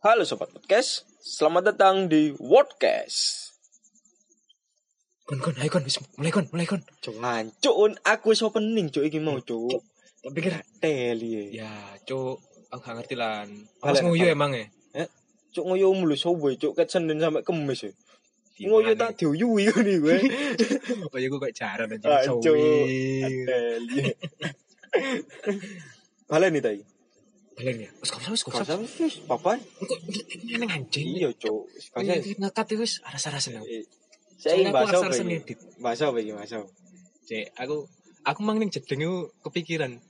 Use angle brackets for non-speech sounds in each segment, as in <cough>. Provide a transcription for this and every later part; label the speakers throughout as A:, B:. A: Halo Sobat Podcast, selamat datang di Wordcast
B: Kon kon ayo kon wis mulai kon mulai kon.
A: Cuk ngancuk aku wis opening cuk iki mau
B: Hmm.
A: cuk
B: Tak pikir
A: Teli
B: ya cuk aku gak ngerti lan.
A: Balik,
B: Awas nguyu
A: balik.
B: emang ya.
A: Cuk ngoyo mulu sobo cuk ket Senin sampai Kamis ya Ngoyo tak diuyui kan iki weh
B: Kaya gue ya, kayak jaran
A: Ah,
B: aja
A: cuk.
B: cowok.
A: Teli Balen nih tadi
B: Balik ya. Wis kau wis kau.
A: Kau sampe wis papan
B: Neng anjing.
A: Iya cuk Kau
B: Kayak ngekat ya, wis aras-aras seneng.
A: saya
B: Soalnya aku
A: bahasa apa
B: aras-aras
A: iki?
B: edit.
A: Bahasa apa iki bahasa apa?
B: Cek aku aku mang ning jedeng iku kepikiran,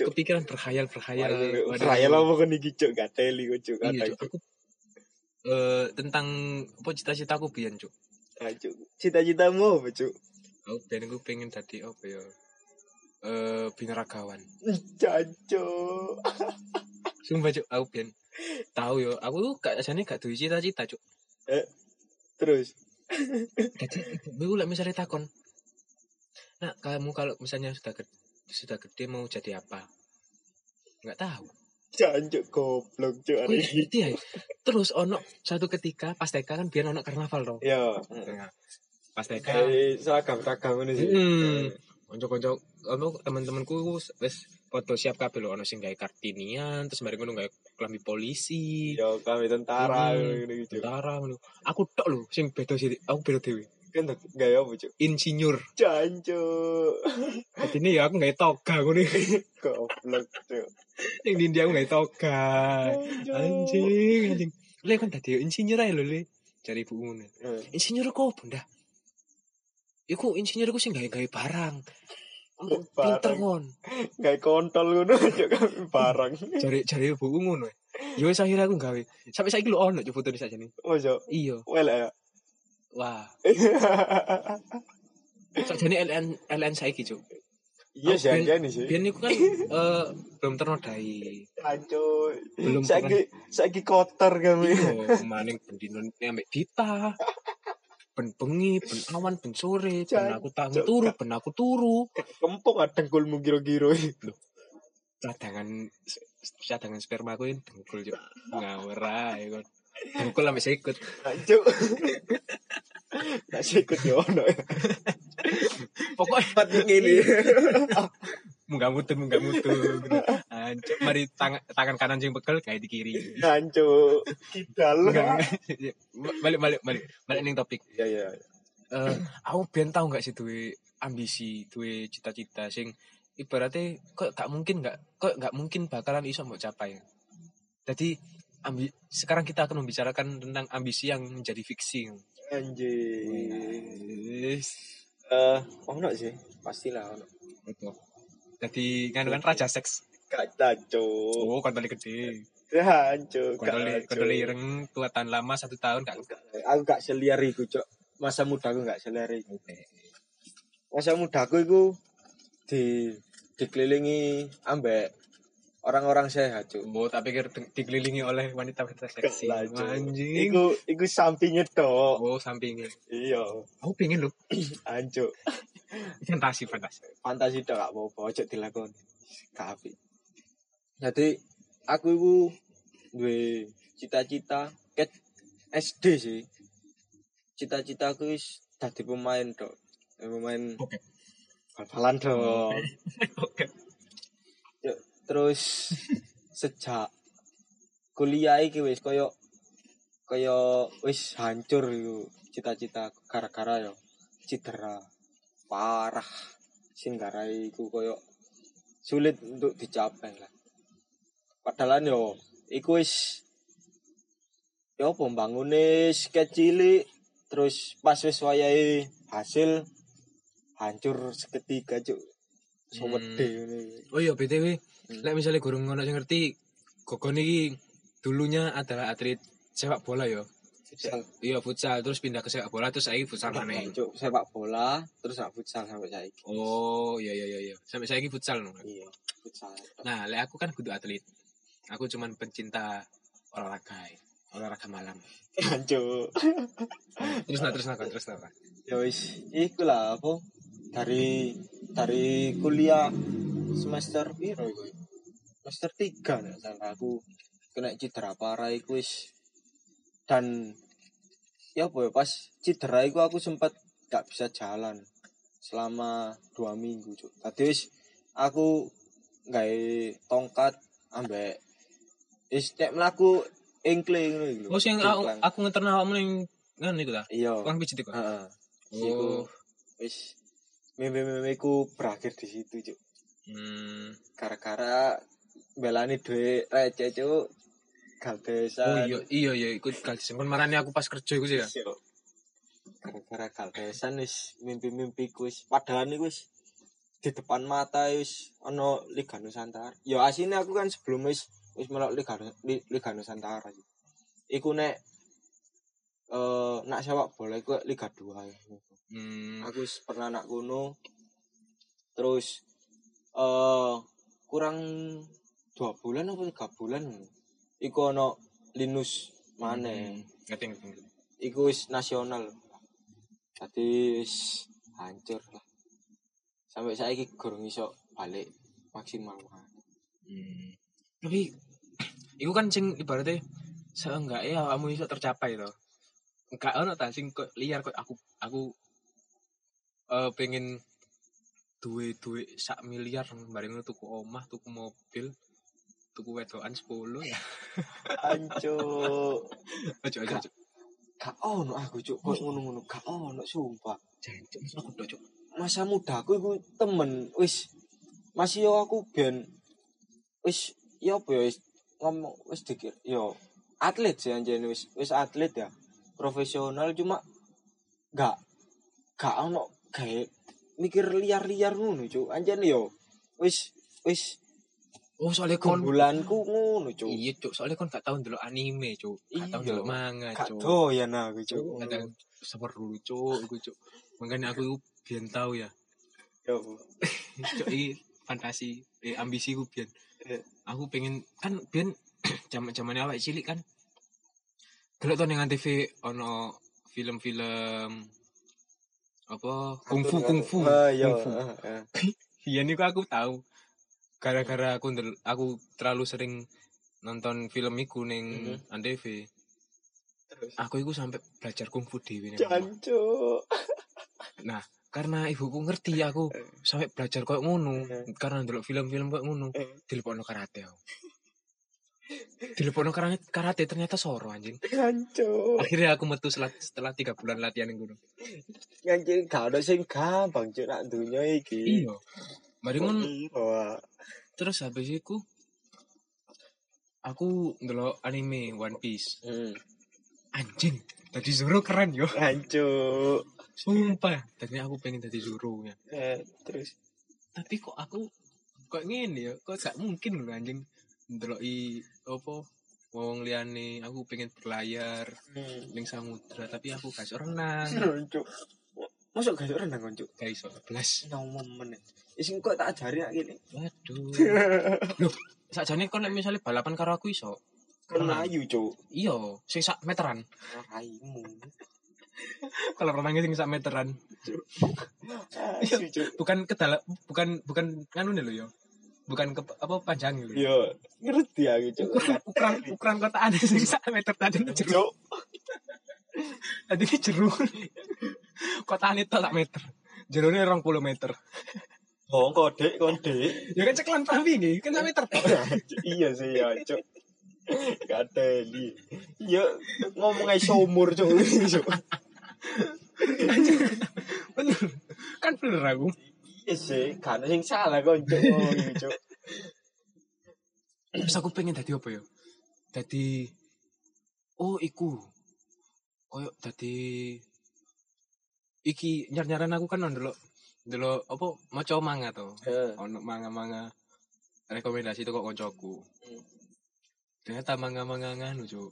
A: Cuk
B: kepikiran berkhayal-berkhayal.
A: Waduh,
B: Waduh.
A: Saya lah kan iki cuk gak teli kok cuk
B: Iya,
A: kata
B: cuk. Aku eh tentang apa cita-citaku biyen, cuk.
A: Ah, Cuk. Cita-citamu apa cuk?
B: Aku biyen aku pengen dadi apa ya? Eh binaragawan.
A: Caco.
B: Sumpah cuk, aku ben tahu yo, aku gak jane gak duwe cita-cita cuk.
A: Terus.
B: Jadi ibu lek misalnya takon. Nah, kamu kalau misalnya sudah gede, sudah gede mau jadi apa? Enggak tahu.
A: Caco goblok cuk
B: Aku
A: hari
B: nggak ngerti ya. Terus ono suatu ketika pas TK kan biar ono karnaval dong.
A: Ya.
B: Nah, pas TK
A: Dari seragam-seragam ini sih.
B: Hmm. konco-konco ono teman-temanku wis foto siap kabeh lho ono sing gawe kartinian terus bareng ngono gawe kelambi polisi.
A: Ya kami tentara
B: Hmm.
A: ngono gitu. Cuk.
B: Tentara ngono. Aku tok lho sing beda sih, aku beda dewe.
A: Kan tak- gaya apa cuk?
B: insinyur.
A: Caco.
B: Jadi ini ya aku nggak toga ngono. <laughs>
A: Goblok cuk.
B: Yang di India aku nggak toga.
A: Caco.
B: Anjing, anjing. Le kan tadi insinyur aja lho le. Cari ibu ngono.
A: Eh,
B: Insinyur kok bunda. Iku insinyur ku sing gawe-gawe barang. Pinter
A: Barang.
B: kon.
A: Gaya kontol ngono cuk kami barang.
B: Cari cari ibu ngono. Yo wis akhirnya aku gawe. Sampai saiki lu ono coba foto saja nih.
A: Ojo.
B: Iya.
A: Well Oh, ya. <laughs>
B: Wah. Sajane LN LN saiki cuk.
A: Iya sih
B: Ben-
A: aja nih sih.
B: Biyen iku kan eh, belum ternodai.
A: Caco.
B: Belum pernah
A: Saiki saiki kotor kami.
B: Iya, kemaning bendino ambek Dita. Ben bengi, ben awan, ben sore, ben aku tangi
A: Jancuk.
B: turu, ben aku turu.
A: Kempung ada dengkulmu <laughs> kira-kira.
B: Cadangan cadangan sperma aku yang dengkul juk. Ngawur ae kon. Dengkul ambek sikut.
A: Cuk. <laughs> Nasi ikut ya ono.
B: Pokoke <laughs>
A: Empat ini.
B: munggah mutu, munggah mutu. Ancuk mari tang- tangan kanan sing pegel gawe di kiri.
A: Nancu.
B: lah.
A: Kidal.
B: <laughs> balik balik balik balik ning topik.
A: Iya iya.
B: Eh, aku ben tau gak sih duwe ambisi, duwe cita-cita sing ibaratnya kok gak mungkin gak kok gak mungkin bakalan iso mbok capai. Jadi ambi, sekarang kita akan membicarakan tentang ambisi yang menjadi fiksi.
A: Anjing.
B: Yes.
A: Eh, ono sih. Pastilah ono.
B: Betul. Jadi kan kan raja seks.
A: Gak nancu.
B: Oh, kontol gede.
A: Nancu.
B: Kontol kontol ireng tuatan lama satu tahun gak
A: Aku gak seliar iku, Cok. Masa mudaku gak seliar iku.
B: ngerti.
A: Masa mudaku iku di dikelilingi ambek orang-orang sehat, Cok.
B: Oh, tak pikir di- dikelilingi oleh wanita-wanita seksi.
A: Lah, Cuk.
B: Anjing.
A: Iku iku sampingnya tok.
B: Oh, sampingnya.
A: Iya,
B: Aku pengen lho.
A: ancu.
B: Fantasi, fantasi.
A: fantasi tok gak apa-apa ojo dilakoni gak apik jadi aku iku duwe cita-cita ket SD sih cita-cita aku wis dadi pemain tok Eh, pemain
B: Oke.
A: bal-balan tok
B: Oke.
A: terus sejak kuliah iki wis koyo koyo wis hancur iku cita-cita aku. gara-gara yo cedera parah sing garai iku koyo sulit untuk dicapai lah padahal yo iku wis yo pembangune kecil terus pas wis wayahe hasil hancur seketika cuk sewede ngene iki.
B: Oh iya BTW,
A: Hmm.
B: lek misalnya gurung ngono sing ngerti, Gogon iki dulunya adalah atlet sepak bola yo.
A: Futsal.
B: Iya futsal terus pindah ke sepak bola terus saiki futsal
A: Dạ,
B: maneh.
A: Cuk, sepak bola terus nak futsal sampai saiki.
B: Oh, iya iya iya iya. Sampai saiki futsal. no.
A: Iya, futsal.
B: Nah, lek aku kan kudu atlet. Aku cuman pencinta olahraga. eh. Olahraga malam.
A: Cuk.
B: Terus nah terus nah terus nah.
A: Ya wis, iku lah apa? Dari dari kuliah semester piro iku? Semester 3 nek salah aku. kena cedera parah iku wis dan ya apa ya, pas cedera iku aku sempat gak bisa jalan selama dua minggu cuk. Tadi wis aku gawe tongkat ambek wis nek mlaku engkling ngono iku lho.
B: Oh, sing aku,
A: Cingklang.
B: aku ngeterno awakmu ning ngono iku ta.
A: iya.
B: Tukang pijit iku.
A: Heeh. Iku
B: Oh.
A: wis mimpi-mimpiku berakhir di situ cuk.
B: Hmm.
A: gara-gara belani duit receh cuk kaldesan
B: Oh iya iya iya iku kalisen. Kon marani aku pas kerja iku sih ya.
A: Cuk. gara-gara kaldesan wis mimpi-mimpiku wis padahal niku wis di depan mata wis ono Liga Nusantara ya asine aku kan sebelum wis wis melok Liga Nu- Li- Liga Nusantara Cuk. iku nek eh nak sepak bola iku Liga 2 ya.
B: Hmm.
A: aku wis pernah nak kuno terus eh kurang dua bulan apa tiga bulan iku ono Linus
B: Hmm.
A: Mane
B: Ngerti ngerti. ngerti.
A: iku wis nasional tadi wis hancur lah sampai saya iki gorong iso balik maksimal
B: Hmm. Tapi iku kan sing ibaratnya seenggaknya awakmu iso tercapai to. Enggak ono ta sing kok liar kok aku aku eh pengen duwe-duwe sak miliar bareng ngono tuku omah, tuku mobil, tuku wedokan 10
A: <laughs>
B: ya.
A: hancur
B: Ojo ojo ojo.
A: gak ono aku cuk kok ngono-ngono gak ono sumpah
B: Jancuk, aku ojo.
A: masa muda aku iku temen wis masih yo aku ben wis ya apa ya wis ngomong wis dikir yo atlet sih anjene wis wis atlet ya profesional cuma gak gak ono kayak mikir liar-liar ngono cuk anjene yo wis wis
B: Oh, soalnya kon
A: kumbulanku ngono cuk
B: Iya, cuk. Soalnya kon gak tau ndelok anime, cuk. Gak tau
A: Iya.
B: ndelok manga,
A: gak
B: cuk.
A: doyan aku cuk
B: Cuk, kadang seru, cuk. Iku, cuk. Makanya aku iku biyen tau ya.
A: yo
B: Cuk, iki fantasi, eh, ambisi ku biyen.
A: Eh.
B: Aku pengen kan <clears throat> biyen zaman-zamane awak cilik kan. Delok to ning TV ono film-film apa kungfu kungfu
A: Ah, iya
B: kungfu
A: ah, ah.
B: Iya niku aku tahu. Gara-gara aku ndel- aku terlalu sering nonton film iku ning
A: Mhm.
B: Antv.
A: terus
B: Aku iku sampai belajar kungfu dhewe ning omah.
A: jancuk
B: Nah, karena ibuku ngerti aku
A: Eh.
B: sampai belajar koyo ngono.
A: Eh.
B: Karena ndelok film-film koyo ngono,
A: Eh.
B: dilebokno karate
A: <laughs>
B: aku. Dilebokno karate, karate ternyata soro anjing.
A: jancuk
B: Akhirnya aku metu setelah, setelah 3 bulan latihan ning kono.
A: Anjir gak ada sing gampang cuk nak dunya iki.
B: Iya. Mari ngono
A: Oh. Wah.
B: terus habis iku aku ndelok anime One Piece.
A: Hmm.
B: anjing tadi Zoro keren yo
A: Hancur.
B: sumpah tadinya aku pengen jadi Zoro ya
A: Eh, terus
B: tapi kok aku kok ngene ya kok gak mungkin lho anjing ndeloki opo wong liyane aku pengen berlayar
A: hmm.
B: ning samudra tapi aku gak iso renang
A: Hancur. Masuk gak iso renang konjuk.
B: gak iso blas
A: Nomor menit. Isin kok tak ajari nak gini.
B: waduh loh sakjane kon nek misalnya balapan karo aku iso
A: Kan
B: Renang.
A: melayu cuk.
B: iya sing sak meteran <laughs>
A: Raimu.
B: kalau renangnya sing sak meteran
A: <laughs> Asu cuk.
B: bukan ke dalam bukan bukan anu nih lho yo bukan ke apa panjang lho
A: Yo, ngerti aku cuk.
B: ukuran ukuran ukuran kotaan <laughs> sing sak meter tadi ini jeruk
A: Cuk.
B: tadi ini jeruk kotaan itu tak meter jeruknya orang puluh meter
A: Bohong kode <laughs> kode.
B: ya kan ceklan tapi ini kan sak meter tok.
A: Iya sih ya cuk. Kateli. Iya, ngomong ae seumur cuk. Cuk.
B: bener kan bener aku
A: Iya sih, kan sing salah kon <laughs> cuk. Oh, iya, Cuk.
B: terus aku pengen tadi apa ya tadi oh iku koyok tadi iki nyar nyaran aku kan ndelok ndelok apa maca manga to
A: Heeh.
B: ono manga-manga rekomendasi itu kok koncoku
A: Hmm.
B: ternyata manga-manga nganu cuk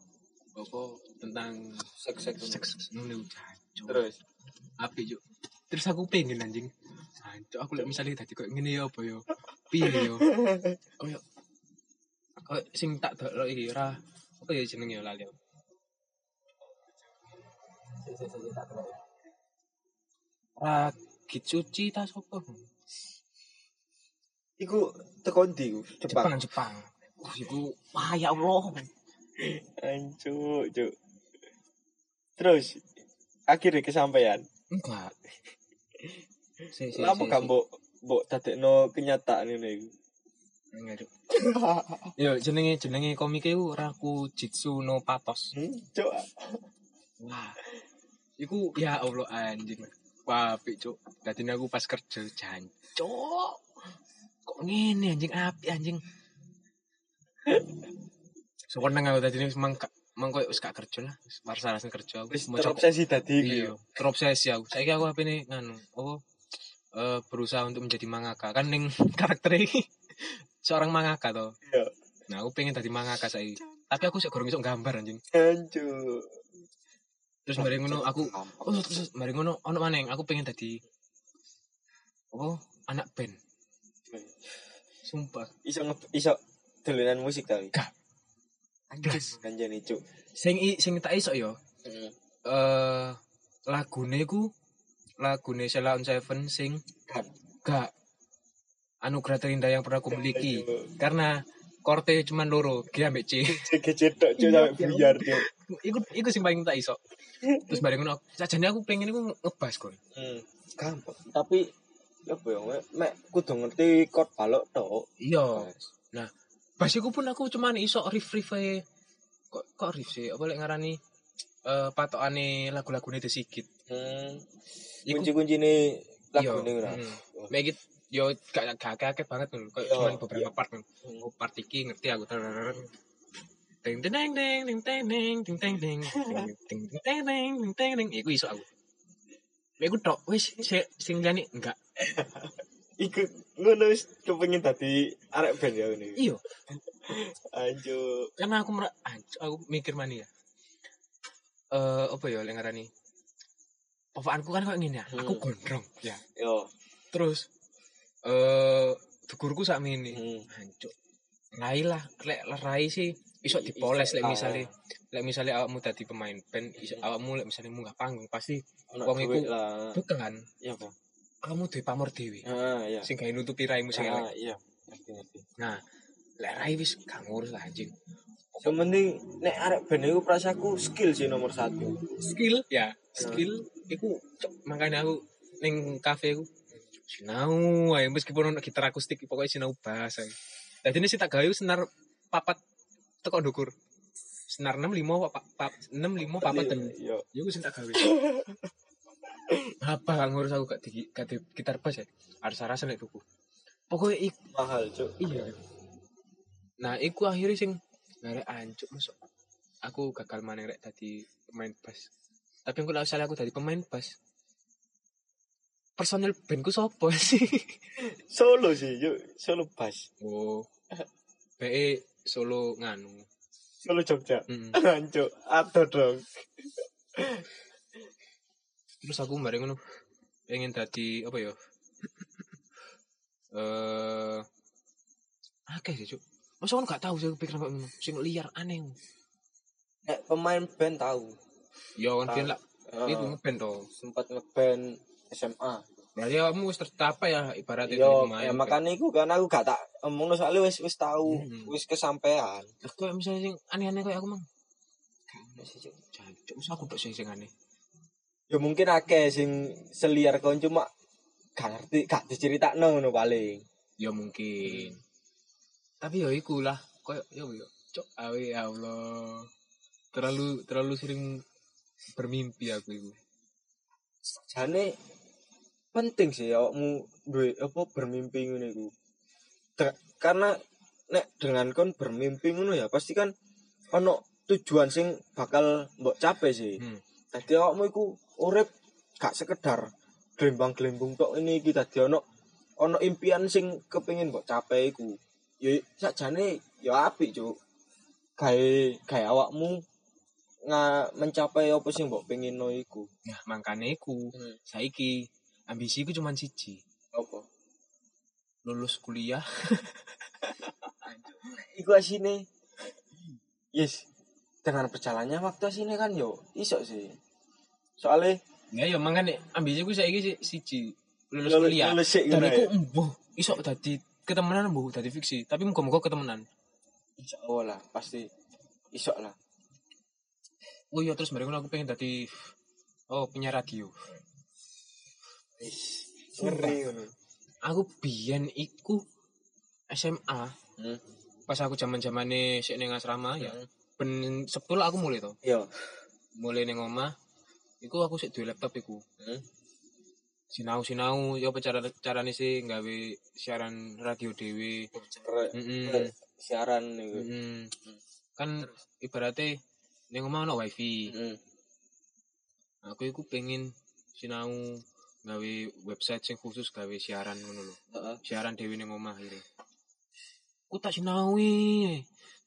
B: apa tentang
A: Sek sek
B: seks ngono cuk
A: terus.
B: apik cuk terus aku pengen anjing Ancuk, aku lihat misalnya tadi kok ngene ya apa yo piye ya? yo koyo koyo sing tak delok iki ra apa ya jenenge ya lali aku. ra cuci tas apa
A: Iku teko ndi iku? Jepang.
B: Jepang Jepang
C: Wah, iku wah ya Allah.
A: Ancuk, cuk. Terus akhirnya kesampaian.
C: Enggak.
B: Sik, sik,
A: Lama
B: sik,
A: gak
B: sik.
A: mbok mbok dadekno kenyataan ini iku.
B: Enggak, Cuk.
A: Hmm?
B: Yo jenenge jenenge komike ku Raku Jitsu no Patos.
A: Hmm, cuk.
B: Wah. Iku ya Allah anjing. Wah, apik cuk. Dadi aku pas kerja jancuk. Kok ngene anjing apik <laughs> anjing. Seneng aku tadi wis mangka mangko wis gak kerja lah. Wis Warsalasen kerja aku.
A: Wis
B: Mau cokok.
A: terobsesi dadi iku.
B: Iya,
A: ya.
B: terobsesi aku. Saiki aku apa nih nganu? Apa eh, berusaha untuk menjadi mangaka kan ning <laughs> karakter iki seorang mangaka toh.
A: Iya.
B: Nah, aku pengen jadi mangaka saiki. Tapi aku sik gorong iso gambar anjing.
A: Ancuk.
B: Terus mari ngono aku
A: Gampang.
B: oh terus mari ngono ono maneng aku pengen jadi apa anak band. Sumpah.
A: iso nge- iso dolanan musik tapi.
B: Gak. Blas.
A: Kanjani cuk.
B: Sing i- sing tak iso yo.
A: Hmm.
B: Eh lagune ku lagune Sheila on Seven sing
A: Kan.
B: gak anugerah terindah yang pernah aku miliki. karena korte cuma loro G ambek C
A: Cek tok cuk sampe buyar cuk.
B: iku iku sing paling tak iso terus bareng ngono sajane aku pengen iku ngebas kon
A: Hmm. Gampang. Tapi apa ya mek mek kudu ngerti chord balok tok.
B: iya bas iku pun aku cuma iso riff riff ae kok kok riff sih apa lek ngarani eh patokane lagu-lagune disikit
A: Hmm.
B: Iku- Hmm.
A: Kunci-kuncine lagu ning ora.
B: Megit yo gak gak akeh banget lho, kayak
A: Iya.
B: cuman beberapa part lho. Oh, part iki ngerti aku. Teng teng teng teng teng teng teng teng teng teng teng teng teng teng teng teng teng iku iso aku. Mek iku tok wis sing sing liyane enggak.
A: Iku ngono wis kepengin dadi arek band ya ini.
B: Iya,
A: Anjuk.
B: karena aku merasa aku mikir mani ya. Eh apa ya lek ngarani? Papaanku kan kok ngene ya, aku
A: Hmm.
B: gondrong ya.
A: Yo.
B: Terus eh dugurku sak mini.
A: Hmm.
B: hancur rai lah lek lek rai sih iso
A: I-
B: dipoles
A: iso,
B: lek
A: ah. Mm.
B: misalnya lek misalnya awakmu tadi pemain band iso awakmu lek misalnya munggah panggung pasti
A: Ono
B: Wong
A: duit
B: iku-
A: lah.
B: bukan
A: Iya, Pak.
B: kamu duwe pamor dewi
A: Ah, iya.
B: Hmm. sing gawe nutupi raimu sing
A: Ah,
B: elek
A: iya. Ngerti, ngerti.
B: nah lek rai wis gak ngurus lah anjing
A: Yang penting nek arek band iku perasaanku skill sih nomor satu. Ah.
B: skill ya skill iku cok, makanya aku ning kafe aku sinau ae meskipun ono gitar akustik pokoknya sinau bass ae dadi ini sih tak gawe senar papat teko ndukur senar 65 papat 65 papat telu
A: Iya.
B: Ya aku sing tak gawe. Apa gak ngurus aku gak di, gak di gitar bass ya? Harus rasa nek tuku. Pokoknya ik
A: Mahal, Cuk.
B: iya. Nah, iku akhirnya sing ngarep ancuk masuk. Aku gagal maneh rek dadi pemain bass. Tapi aku lek aku dadi pemain bass. Personil bandku sopo <laughs> sih?
A: Solo sih, yuk. Solo bass.
B: Oh. BE solo nganu.
A: Solo Jogja. <laughs>
B: Mm.
A: Cuk, ada dong.
B: terus aku bareng ngono pengen dadi apa ya eh akeh sih cuk masa kan gak tahu sih pikiran kok ngono sing liar aneh
A: Nek pemain band tahu.
B: ya kan biyen lah
A: Eh,
B: itu ngeband to
A: sempat ngeband SMA.
B: berarti kamu wis tercapai ya ibaratnya
A: Yo, ya makanya iku kan aku gak tak omongno soalnya wis wis tahu,
B: Hmm.
A: wis kesampean.
B: kayak misalnya sing aneh-aneh kayak aku mang
A: Wis, Cuk.
B: jancuk masa aku tok sing sing aneh
A: Ya mungkin akeh sing seliar kon cuma gak ngerti, gak diceritakno ngono paling.
B: ya mungkin tapi ya iku lah kayak ya yo cuk awe ya Allah terlalu terlalu sering bermimpi aku itu
A: Jane penting sih awakmu duwe apa bermimpi ngono iku. Te- Karena nek dengan kon bermimpi ngono ya pasti kan ono tujuan sing bakal mbok capai sih.
B: Hmm.
A: Dadi awakmu iku urip gak sekedar glembang-glembung tok ini iki dadi ono ono impian sing kepengin mbok capai iku. Ya sakjane ya apik, Cuk. Gawe gawe awakmu nga, mencapai apa sing mbok penginno iku.
B: Nah, makanya iku saiki ambisi iku cuman siji,
A: Apa?
B: lulus kuliah.
A: iku asine yes dengan berjalannya waktu asine kan yo iso sih soalnya
B: Ya ya makanya ambisi iku saiki si- siji, lulus
A: Lulu-
B: kuliah.
A: lulus iya, sik
B: Dan
A: ngono
B: iku
A: ya.
B: embuh iso dadi ketemenan embuh dadi fiksi, tapi muga-muga ketemenan.
A: Insya Allah lah, pasti iso lah.
B: oh iya terus mereka aku pengen tadi oh punya radio
A: Ngeri ngono.
B: aku biyen iku SMA
A: Hmm.
B: pas aku zaman zamane sik ning asrama ya ben sepul aku mulai to
A: Yo.
B: mulai ning omah iku aku sik duwe laptop iku
A: Hmm.
B: sinau sinau ya apa cara carane sih nggawe siaran radio dhewe
A: Re-
B: heeh
A: re- siaran iku.
B: kan ibaratnya ning omah ono wifi
A: Hmm.
B: aku iku pengen sinau gawe website sing khusus gawe siaran ngono lho
A: Heeh.
B: siaran dewi ning omah iki. Ku tak sinawi.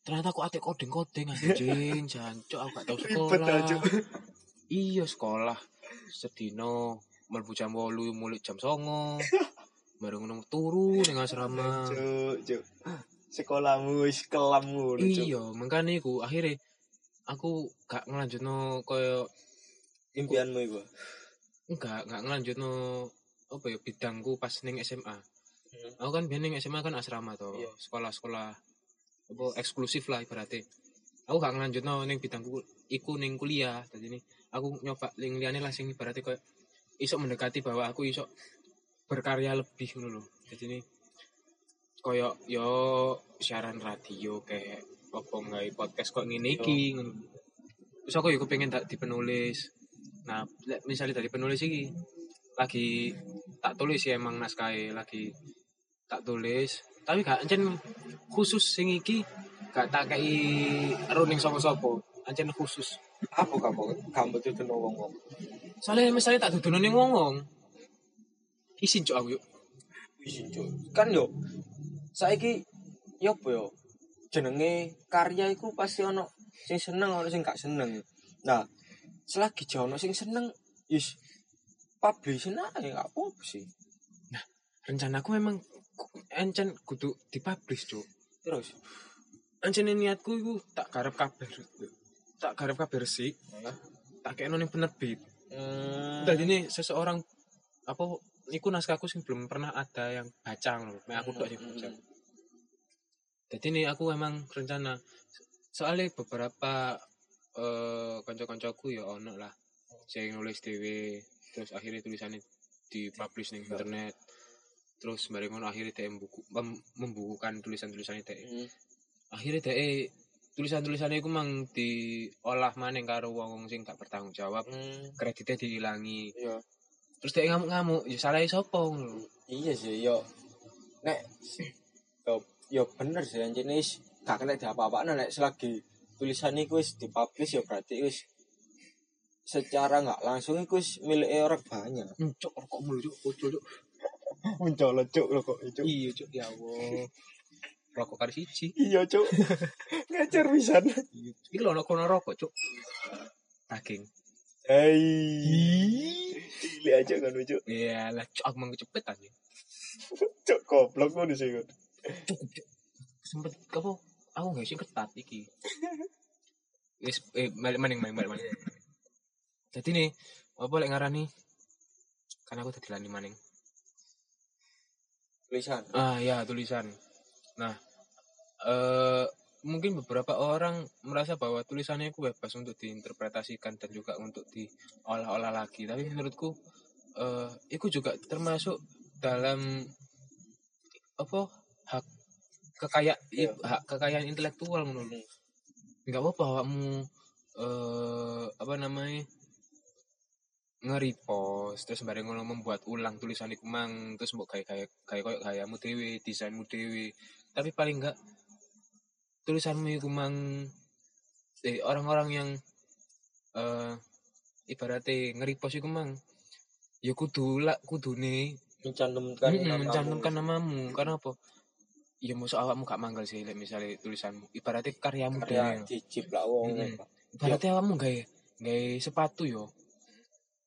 B: Ternyata aku atik kodeng-kodeng anjing, jancuk aku gak tau sekolah.
A: Jancuk.
B: iya sekolah. Sedino mlebu jam 8 mulai jam 9. Baru ngono turu ning asrama.
A: Cuk, cuk. Sekolahmu wis kelam ngono, cuk.
B: Iya, mengkane iku akhirnya aku gak ngelanjutno koyo
A: Impianmu iku.
B: enggak enggak ngelanjutno apa ya bidangku pas ning SMA. Aku kan biyen ning SMA kan asrama to,
A: Iya.
B: sekolah-sekolah apa eksklusif lah ibaratnya. Aku gak ngelanjutno ning bidangku iku ning kuliah. Dadi ini aku nyoba ning liyane lah sing ibaratnya koyo iso mendekati bahwa aku iso berkarya lebih ngono lho. Dadi ini koyo yo siaran radio kayak apa nggawe podcast kok ngene iki ngono. Terus aku yo pengen tak dipenulis. Nah, lek misalnya dari penulis iki lagi tak tulis ya emang naskah e, lagi tak tulis, tapi gak ancen khusus sing iki gak tak kei running sapa-sapa, ancen khusus.
A: Apa kamu kamu tuh tenung wong-wong?
B: Soalnya misalnya tak dudunane ngomong. Isin cok aku yuk.
A: Wis, cuk. Kan yo saiki yo apa yo jenenge karya iku pasti ono sing seneng ono sing gak seneng. Nah, selagi jauh ono sing seneng, is publish aja gak apa-apa sih.
B: Rencanaku memang ku- ancen kudu dipublish cok.
A: Terus,
B: Ancen niatku iku tak garap kabeh. Tak garap kabeh resik, tak kei ning penerbit.
A: hmm,
B: Tadi ini seseorang apa iku naskahku sing belum pernah ada yang baca loh.
A: Hmm.
B: aku tok sing baca. Jadi ini aku emang rencana soalnya beberapa eh kanca-kancaku ya ono lah sing nulis dhewe terus akhirnya tulisannya dipublish ning internet terus bareng ngono akhirnya dhek buku mem- membukukan tulisan-tulisannya dhek
A: Hmm.
B: akhirnya dhek tulisan-tulisannya iku mang diolah maning karo wong-wong sing gak bertanggung jawab
A: Hmm,
B: kreditnya diilangi
A: iya.
B: terus dia ngamuk-ngamuk ya salah sapa ngono
A: Iya sih, yo. Nek yo, yo bener sih anjir wis gak kena di apa-apa nek selagi tulisan iku wis dipublish yo berarti wis secara nggak langsung iku wis milik orang banyak.
B: cok rokok mulu cok bocor cok
A: <laughs> Mencolot cuk lho kok cuk.
B: iya cok ya Allah <laughs> rokok kali siji
A: Iya <laughs> cuk. Ngajar pisan.
B: iki lho ono kono rokok cok daging
A: Hei. Cilik aja kan cuk.
B: iya lah cok aku mau kecepetan ya
A: Cuk goblok ngono sih kok.
B: cukup cok sempet apa aku gak sih ketat iki wis eh balik maning maning balik maning jadi nih apa lek ngarani kan aku tadi lani maning
A: Tulisan.
B: Ah ya tulisan. Nah, eh mungkin beberapa orang merasa bahwa tulisannya itu bebas untuk diinterpretasikan dan juga untuk diolah-olah lagi. Tapi menurutku eh itu juga termasuk dalam apa hak kekayaan
A: Iya.
B: hak kekayaan intelektual menurut.
A: Hmm.
B: Enggak apa-apa awakmu eh apa namanya nge-repost terus bareng ngono membuat ulang tulisan iku mang terus mbok kayak kayak kayak koyo gayamu dhewe, desainmu dhewe. Tapi paling enggak tulisanmu iku mang eh, orang-orang yang eh ibaratnya nge-repost iku mang ya kudu lah kudune
A: Mencantumkan
B: Mm-mm,
A: namamu.
B: Iya, mencantumkan namamu karena apa ya musuh awakmu gak manggal sih like, misalnya tulisanmu ibaratnya karyamu dhewe.
A: karya dicip lah wong.
B: Mm-mm. Berarti awakmu gawe gawe sepatu yo.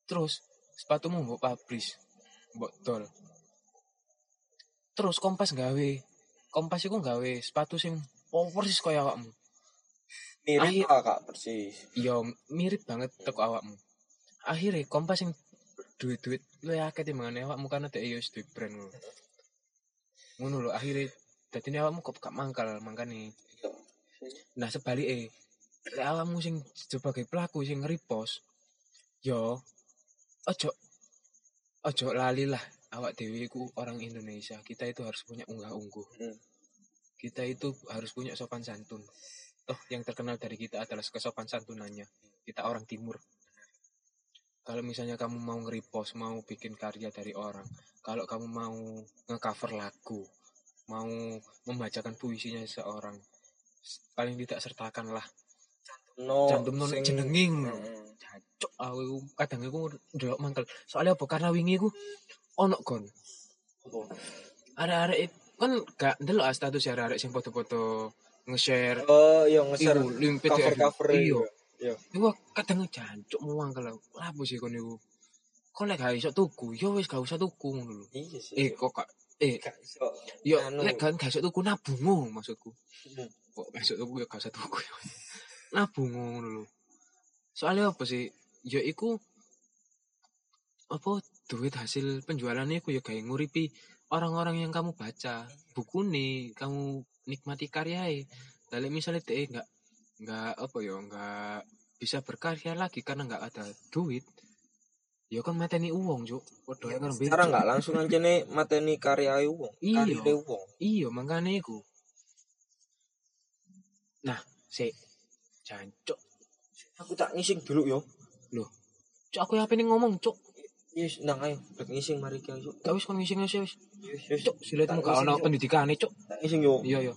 B: Terus sepatumu mbok publish, mbok dol. Terus kompas gawe. Kompas iku gawe sepatu sing power persis kaya awakmu.
A: Mirip
B: Akhir-
A: lah kak persis.
B: Yo mirip banget teko awakmu. Akhirnya kompas sing duit-duit lu ya akeh timbangane awakmu kan karena dhek yo wis duwe brand ngono. Ngono lho akhirnya dadine awakmu kok gak mangkal mangkane.
A: Yo.
B: Nah sebaliknya, lek awakmu sing sebagai pelaku sing ngeripos, yo ojo ojo lali lah awak dewi ku orang Indonesia. Kita itu harus punya unggah-ungguh.
A: Hmm.
B: Kita itu harus punya sopan santun. Toh yang terkenal dari kita adalah kesopan santunannya. Kita orang timur. Kalau misalnya kamu mau ngeripos, mau bikin karya dari orang, kalau kamu mau ngecover lagu, mau membacakan puisinya seseorang, s- paling tidak sertakanlah
A: no
B: cantum
A: Oh,
B: nolak
A: sing- Hmm.
B: jenenge ngono.
A: Heeh.
B: cocok aku iku. kadang aku ndelok mangkel soalnya apa karena wingi aku ono kon
A: Apa?
B: arek-arek ik- kan gak ndelok ah status arek-arek sing foto-foto nge-share
A: oh yang ngeser
B: iku link
A: cover
B: PDF
A: cover
B: iya
A: Iya.
B: iku kadang jancuk mau mangkel aku lapo sih kon iku kon lek gak iso tuku ya wis gak usah tuku ngono lho
A: iya sih
B: eh kok gak eh
A: gak iso
B: yo
A: Anu.
B: lek kan gak iso tuku nabungo maksudku
A: Hmm.
B: kok masuk tuku ya gak usah tuku ya <laughs> nabung ngono lho soalnya apa sih ya iku apa duit hasil penjualan iku ya kayak nguripi orang-orang yang kamu baca buku nih kamu nikmati karyae kalau misalnya teh nggak nggak apa ya nggak bisa berkarya lagi karena nggak ada duit ya kan mateni uang cuk Waduh,
A: Ya,
B: kan
A: secara nggak langsung aja nih mateni karya wong
B: Iya.
A: karya wong
B: Iya, makanya iku. Nah, sik. Jancuk.
A: aku tak ngising dulu yo
B: Cuk, aku apa ini ngomong, cuk.
A: yes nang ayo tak ngising mari kita yuk
B: Gak wis kon ngising wis.
A: yes yes
B: Cuk, sulit
A: Tak
B: muka
A: ngising,
B: ono
A: Cuk.
B: pendidikan cuk.
A: tak ngising yo
B: Iya, iya.